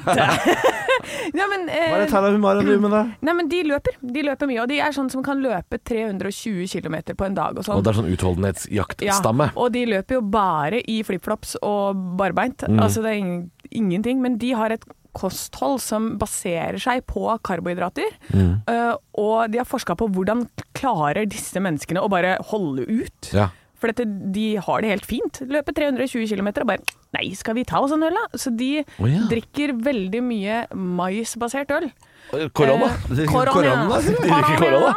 Ja, men, Hva er det eh, Tara Humara driver med, da? nei, men de løper. De løper mye, og de er sånn som kan løpe 320 km på en dag og sånn. Og det er sånn utholdenhetsjaktstamme. og de løper jo bare i flipflops og barbeint. Mm. Altså det er ingen, ingenting. Men de har et kosthold som baserer seg på karbohydrater. Mm. eh, og de har forska på hvordan klarer disse menneskene å bare holde ut. Ja. For dette, de har det helt fint. Løper 320 km og bare Nei, skal vi ta oss en øl, da? Så de Å, ja. drikker veldig mye maisbasert øl. Korona. Eh, Det er Korona. korona, sier du? Ikke korona.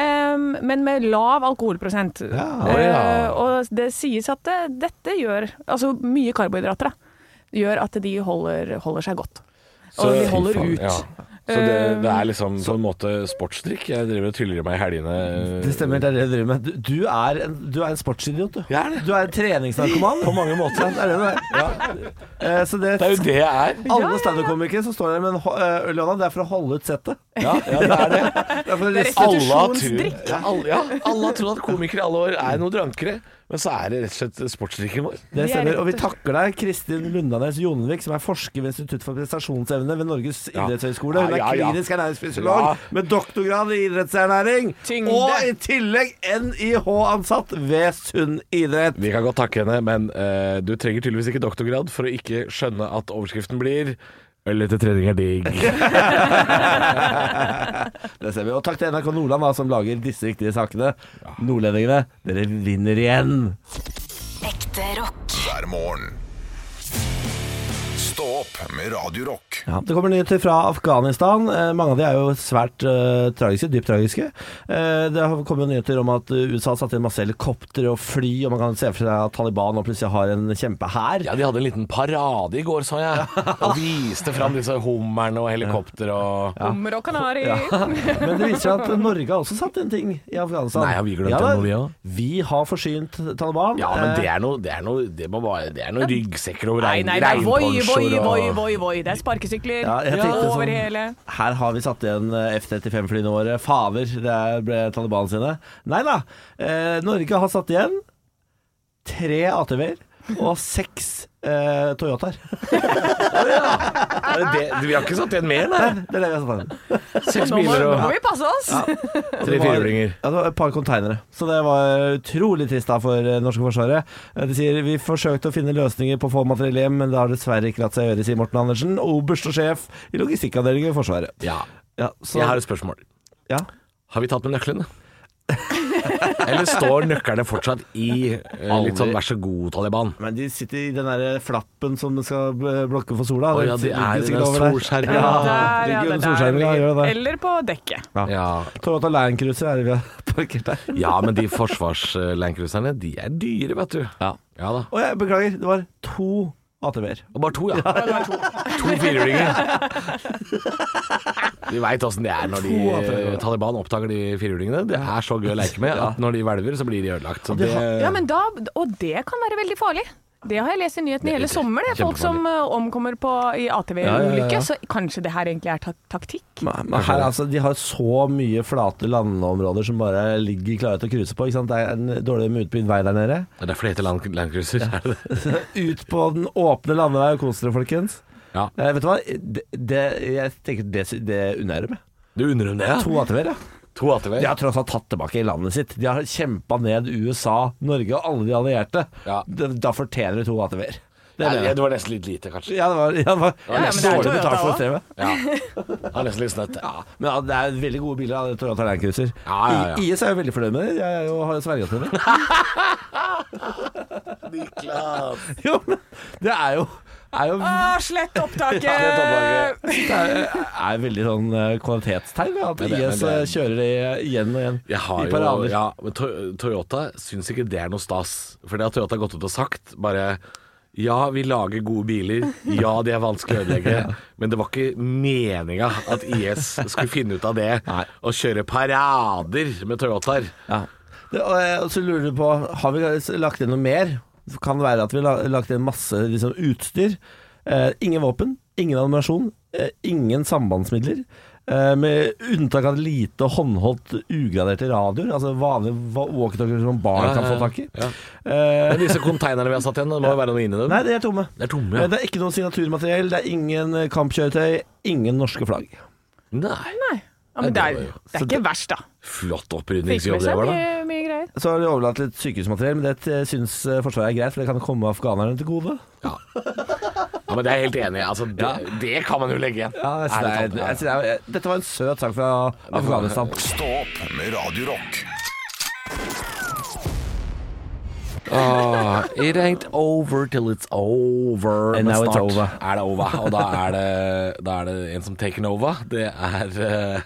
Ehm, men med lav alkoholprosent. å ja. Eh, og det sies at det, dette gjør Altså mye karbohydrater, da. Gjør at de holder, holder seg godt. og de holder Fy faen, ut. ja. Så det, det er liksom på en måte sportsdrikk. Jeg driver og tyller i meg i helgene. Det stemmer, det er det du driver med. Du, du, er, en, du er en sportsidiot, du. Jeg er det. Du er en treningsnarkoman. På mange måter. Det er det du er. Eh, Så det, Det er jo det jeg er. alle standup-komikere som står der med en ho- eh, øl i hånda, det er for å holde ut settet. Ja, ja det er det. Det er for å Det er riste- Alle har trodd Restitusjonsdrikk. ja, alle, ja, alle har trodd at komikere i alle år er noe drankere, men så er det rett og slett sportsdrikken vår. Det Vi er stemmer. Og vi rett og takker deg, Kristin Lundanes Jonvik, som er forsker ved Institutt for prestasjonsevne ved Norges Ja. idrettshøgskole. Hun Ja, er ja, ja. klinisk ernæringsfysiolog Ja. med doktorgrad i idrettsernæring. Tyngde. Og i tillegg NIH-ansatt ved Sunn idrett. Vi kan godt takke henne, men eh, du trenger tydeligvis ikke doktorgrad for å ikke skjønne at overskriften blir Øl etter trening er digg. Det ser vi. Og takk til NRK Nordland, da, som lager disse viktige sakene. Nordlendingene, dere vinner igjen. Ekte rock. hver morgen. Stå opp med Radio Rock. Ja, det kommer nyheter fra Afghanistan. Eh, mange av de er jo svært eh, tragiske, dypt tragiske. Eh, det har kommet nyheter om at eh, USA satte inn masse helikoptre og fly, og man kan se for seg at Taliban nå plutselig har en kjempehær. Ja, De hadde en liten parade i går, så jeg. Og viste fram disse hummerne og helikopter og Hummer og kanari. Men det viser seg at Norge har også satt inn ting i Afghanistan. Nei, har vi glemt da. noe, vi også? Vi har forsynt Taliban. Ja, men det Eh, er noe, det er noe, det må bare, det er noe ryggsekker og Nei, regn, nei, det er voi, voi, regnponsjer voi, og voi, voi. Det er sparkesykler Ja, jeg tenkte over sånn- hele. Her har vi satt igjen eh, F-35-flyene våre. Fader, det er- ble Taliban sine. Nei da. Eh, Norge har satt igjen tre ATV-er, og seks eh, Toyotaer. Er det det? Vi har ikke satt igjen mer, nei. Det er det vi har satt sammen. Seks Nå må, biler nå må og vi passe oss. tre firhjulinger. Ja, det var et par konteinere. Så det var eh, utrolig trist da for det norske forsvaret. Eh, De sier vi forsøkte å finne løsninger på å få materiell hjem, men det har dessverre ikke latt seg gjøre, sier Morten Andersen, oberst og sjef i logistikkavdelingen i Forsvaret. Ja. Ja, så, Jeg har et spørsmål. ja. Har vi tatt med nøklene? Eller står nøklene fortsatt i eh, litt sånn vær så god-Taliban? Men de sitter i den der eh, flappen som skal eh, blokke for sola. Å ja, de Det er ligger i den sikkert over der. solskjermen. Ja, Der, det ja, ligger det under der solskjermen, ja, gjør det. Eller på dekket. Ja. Toyota Land Cruiser er det vi har parkert der. ja, men de forsvarslandcruiserne, de er dyre, vet du. Ja. da. Og jeg beklager, det var to ATV-er. Og bare to, ja. To firhjulinger. Vi veit åssen det er når de, Taliban oppdager de firhjulingene. Det er så gøy å leke med at når de hvelver, så blir de ødelagt. Så det, Ja, men da, og det kan være veldig farlig. Det har jeg lest i nyhetene hele sommeren. Det er folk som eh, omkommer på, i ATV-ulykke. Så kanskje det her egentlig er ta taktikk? Men men her, altså, de har så mye flate landområder som bare ligger klare til å cruise på. Ikke sant? Det er en dårlig utbygd vei der nede. det er derfor det heter land- landcruiser. er det det? Ut på den åpne landevei og kos dere, folkens. Ja. Eh, vet du hva? Det, det, jeg tenker det, sy- det unner jeg dem. jeg. Du unner dem det, ja? To ATV-er, ja. To ATV. De har tross alt tatt tilbake landet sitt. De har kjempa ned USA, Norge og alle de allierte. Ja. Da, da fortjener de to ATV-er. Det Ja, mener jeg. det var nesten litt lite, kanskje. Ja, det var, ja, det var, men det er dårlig Toyota betalt for strevet. Ja. Det var nesten litt snøtt. Ja. Men ja, det er veldig gode biler av Toyota Land Cruiser. Ja, ja, ja. I- IS er jo veldig fornøyd med det. Jeg er jo, har jo sverga til det. jo, men det er jo, er jo Ah, slett opptaket! det er, er veldig sånn eh, kvalitetstegn ja, at Men det- men IS eh, det- kjører det igjen og igjen Jeg har i jo, parader. ja, men To- Toyota syns ikke det er noe stas. For det har Toyota gått ut og sagt. Bare ja, vi lager gode biler. Ja, de er vanskelig å ødelegge. Men det var ikke meninga at IS skulle finne ut av det Nei. og kjøre parader med Toyotaer. Ja. Det, og, eh, og så lurer du på Har vi lagt inn noe mer? Kan det være at vi har lagt inn masse liksom, utstyr? Eh, ingen våpen, ingen animasjon, eh, ingen sambandsmidler. Eh, med unntak av lite håndholdt ugraderte radioer, altså vanlige va- walkietalkier som barn Ja, ja, kan få ja. tak i. Men Eh, Disse konteinerne vi har satt igjen, det må jo være noe inni dem? nei, de er tomme. Det er tomme, Eh, ja. Det er ikke noe signaturmateriell, det er ingen eh, kampkjøretøy, ingen norske flagg. Nei. Ja, men det er, det er Så ikke verst, da. Flott Fikk med opprydningsjobb det seg var, da. mye, mye greier. Så har de overlatt litt sykehusmateriell, men det eh, syns eh, Forsvaret er greit, for det kan komme afghanerne til gode. Ja, men det er jeg helt enig i. Altså, det, det kan man jo legge igjen. Ja, jeg synes Ærlig det er, talt, jeg synes det er, dette var en søt sak fra Afghanistan. Stå opp med Radio Rock. Ah, it ain't over till it's over. And Men now it's snart over. er det over. Og da er det, da er det en som taken over. Det er eh,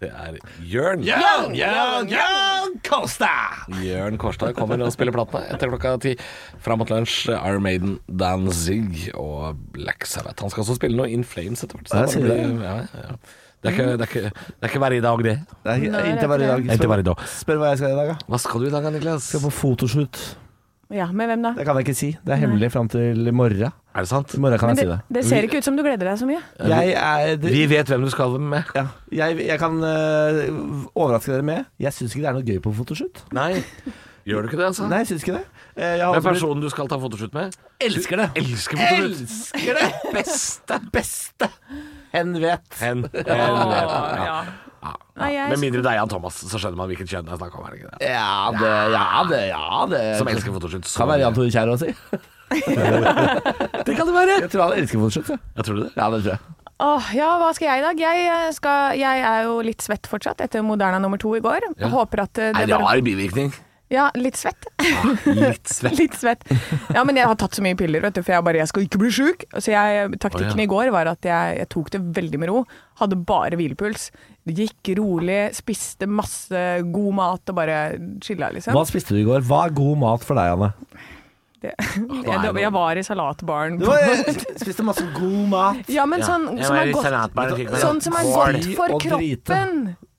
det er Jørn. Jørn, Jørn, Jørn Kosta! Jørn Kårstad kommer og spiller platene etter klokka ti. Fram mot lunsj, Iron Maiden, Danzig og Black Sabbath. Han skal også spille noe In Flames etter hvert. så Ja, det sier blir- du. ja, ja. Det er ikke, det er ikke, det er ikke hver i dag, det. Det er ikke- ikke bare i dag. Ikke bare i dag. Spør hva jeg skal i dag, da. Hva skal du i dag, Niklas? Skal på fotoshoot. Ja, med hvem da? Det kan jeg ikke si. Det er hemmelig fram til i morgen. Er det sant? I morgen kan Men jeg si det, det. det ser ikke ut som du gleder deg så mye. Jeg er det, Vi vet hvem du skal med. ja, jeg, jeg kan øh, overraske dere med Jeg syns ikke det er noe gøy på fotoshoot. Nei. Gjør du ikke det, altså? Nei, jeg syns ikke det. Eh, Jeg har Hvem er også blitt- personen du skal ta fotoshoot med? elsker det. Elsker fotoshoot! Elsker det! Beste. Beste. Hen vet. Hen. Eh, ja. Nei, jeg Med mindre det er Jan Thomas, så skjønner man hvilket kjønn det er snakk om. er det ikke det? Ja, det, ja, det, ja, det. Som elsker fotoshoot. så Kan være mye. Jan Tore Kjær også, si. det kan det være. Jeg tror han elsker fotoshoot. Ja. Jeg tror du det? ja, det tror jeg. Åh, ja, hva skal jeg i dag? Jeg, eh, skal, jeg er jo litt svett fortsatt etter Moderna nummer to i går. Jeg Håper at eh, det En bare rar bivirkning. Ja, litt svett. Litt svett. litt svett. Ja, men jeg har tatt så mye piller, vet du, for jeg bare jeg skal ikke bli sjuk. Så jeg, taktikken Å, ja. i går var at jeg, jeg tok det veldig med ro. Hadde bare hvilepuls. Gikk rolig, spiste masse god mat og bare chilla, liksom. Hva spiste du i går? Hva er god mat for deg, Anne? Det, jeg, jeg var i salatbaren. spiste masse god mat. Ja, men sånn som er godt Sånn som er godt for og drite. kroppen.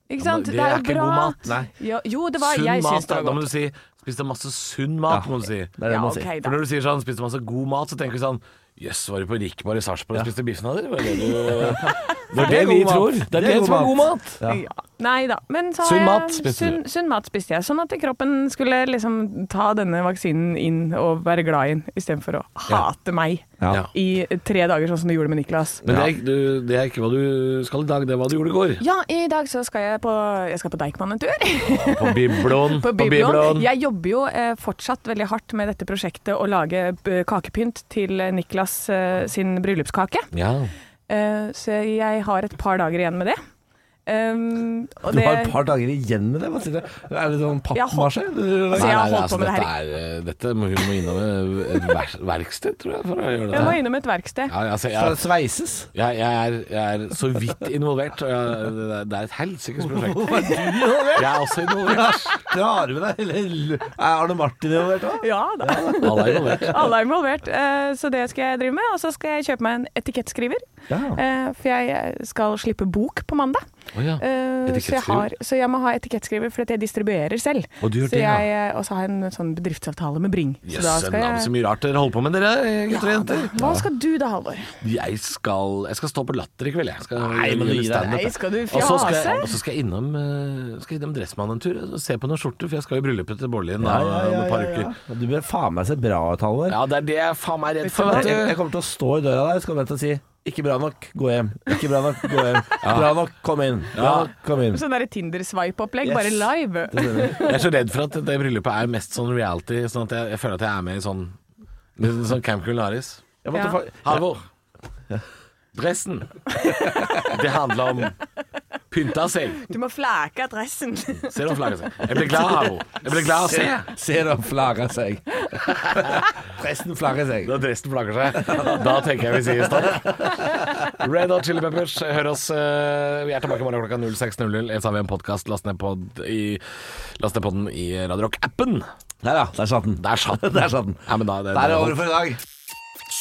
Ikke sant? det Det er er jo ikke bra. god mat. Nei. Ja, jo, det var sunn Jeg syns det mat. Da, var da må godt. du si 'spiste masse sunn mat'. må du si Det er det Ja, man sier. ok, For da. når du sier sånn 'spiste masse god mat', så tenker vi sånn Jøss, var du på Rikmar i Sarpsborg og spiste biffen av dere? Var det du- Det er det vi tror. Det er det som er god mat. Ja. Nei da. Men så har Sunn jeg- mat spiste du. sunn, sunn mat spiste jeg. Sånn at kroppen skulle liksom ta denne vaksinen inn og være glad i den, istedenfor å hate meg Ja. i tre dager, sånn som du gjorde med Niklas. Men det er, du, det er ikke hva du skal i dag, det er hva du gjorde i går. Ja, i dag så skal jeg på, jeg skal på Deichman en tur. På Biblon. På Biblon. Jeg jobber jo eh, fortsatt veldig hardt med dette prosjektet å lage eh, kakepynt til eh, Niklas eh, sin bryllupskake. Ja. Eh, så jeg har et par dager igjen med det. Um, og Du det- har et par dager igjen med det? Hva sier du? Er det sånn Jeg har pappmasje? holdt- Du- Altså, jeg har holdt på med det dette, her. er, eh, dette må hun må innom et ver- verksted, tror jeg, for å gjøre det. Jeg må innom et verksted. Ja, altså, Skal det jeg, sveises? jeg, jeg, er, jeg er så vidt involvert. Og jeg, det er- det er et helsikes prosjekt. Var du involvert? Jeg er også involvert. Drar med deg hele Er Arne Martin involvert òg? Ja da. Alle er involvert. Alle er involvert, eh, så det skal jeg drive med. Og så skal jeg kjøpe meg en etikettskriver. Ja. eh, For jeg skal slippe bok på mandag. Å ja. Eh, Så jeg, har, så jeg må ha etikettskriver, for at jeg distribuerer selv. Og du gjør så det, ja. jeg, eh, Og så har jeg en sånn bedriftsavtale med Bring. Så da Jøssen skal navn, så jeg mye rart dere holder på med, dere gutter og jenter. Hva skal du da, Halvor? Jeg skal, jeg skal stå på latter i kveld. Jeg skal Nei, men gjøre gi deg. standup, Nei, jeg. skal du Og så skal fjase? jeg- Og så skal jeg innom, eh, skal innom Dressmann en tur eh, og se på noen skjorter, for jeg skal i bryllupet til Bollien da, om et par uker. Du bør faen meg se bra ut, Halvor. Ja, det er det jeg faen meg er redd for. jeg, Vet jeg du. kommer til å stå i døra der, så kommer jeg til å si ikke bra nok, gå hjem. Ikke bra nok, gå hjem. Bra nok, kom inn. Bra Ja. nok, kom inn. Sånn derre Tinder-sveip-opplegg, Yes. bare live. Jeg er så redd for at det bryllupet er mest sånn reality, sånn at jeg, jeg føler at jeg er med i sånn, litt sånn Camp Culinaris. Jeg måtte Ja. fa- Halvor. Dressen. Det handler om pynta seg. Du må flæke adressen. Se om flagget seg. Jeg ble glad, Halvor. Jeg ble glad av å se. Se dem flagre seg. Presten flagrer seg. Da dressen flagger seg, da tenker jeg vi sier stopp. Red Hot Chili Peppers, hør oss. eh, Vi er tilbake i morgen klokka 06.00. Ellers har vi en podkast. Last ned pod i- last ned podden i Radio Rock-appen. Der, ja. Der satt den. Der satt den. Der satt den. Ja, men da, det, Der er det over for i dag.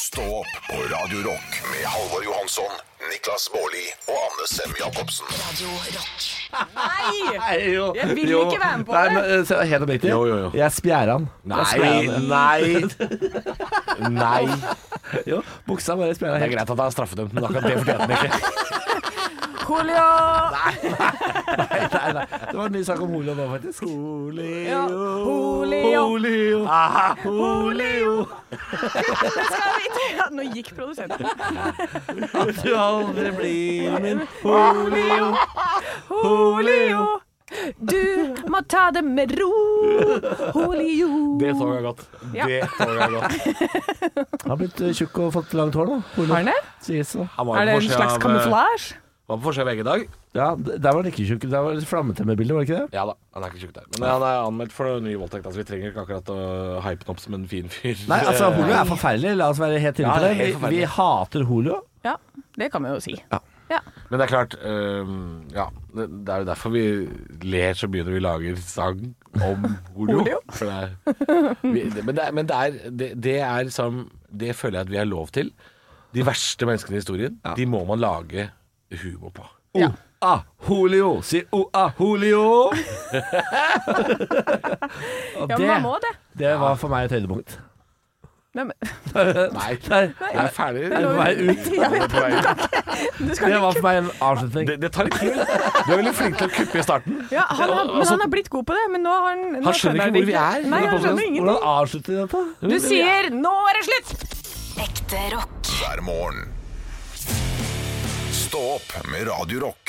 Stå opp på Radio Rock med Halvor Johansson, Niklas Baarli og Anne Sem Jacobsen. Radio Rock. Nei! Nei, jo. Jeg vil Jo. ikke være med på Nei, det. men, eh, se, helt oppriktig. Jo, jo, jo. Jeg spjærer han. Jeg spjærer Nei, han. nei, nei. Jo, buksa bare spjærer Det er helt. greit at han er straffedømt, men akkurat det fortjente han ikke. Julio! Nei, nei. Det var en ny sak om Holio nå, faktisk. Holio, Julio! Holio, Holio. Skal vi ikke- Ja, Nå gikk produsenten. At du aldri blir min Holio, Holio. Du må ta det med ro, Julio. Det så jeg godt. Det så jeg godt. Han har blitt eh, tjukk og fått langt hår nå. Holio. Har han det? Sies det. Han var Er det på en forsida slags av- eh, kamuflasje? Var på forsida av VG i dag. Ja, d- der var han ikke tjukk. Der var det flammetemmerbildet, var det ikke det? Ja da, han er ikke tjukk der. Men han er anmeldt for ny voldtekt, altså vi trenger ikke akkurat å hype han opp som en fin fyr. Nei, altså, Holio er forferdelig. La oss være helt inne Eh, Ja, på det. det er helt Vi, vi hater Holio. Ja, det kan vi jo si. Men det er klart øhm, Ja, det det er jo derfor vi ler så mye når vi lager sang om Olio. For det er, vi, det, men det er, men det, er det, det er som Det føler jeg at vi har lov til. De verste menneskene i historien, de må man lage humor på. Ja. Ah, Julio. Si o ah, Julio. Og Ja, men man må det. det var for meg et høydepunkt. Nei, men, Nei, Nei, jeg er ferdig. på vei ut. du Det skal ikke var for meg en avslutning. Det, det tar litt tid. Du er veldig flink til å kuppe i starten. ja, han, har, men han har blitt god på det, men nå har han nå altså- Han skjønner jeg ikke hvor det vi er. Nei, han skjønner Hvordan ingenting. avslutter vi dette? Du sier 'nå er det slutt'! Ekte rock. hver morgen. Stå opp med Radio Rock.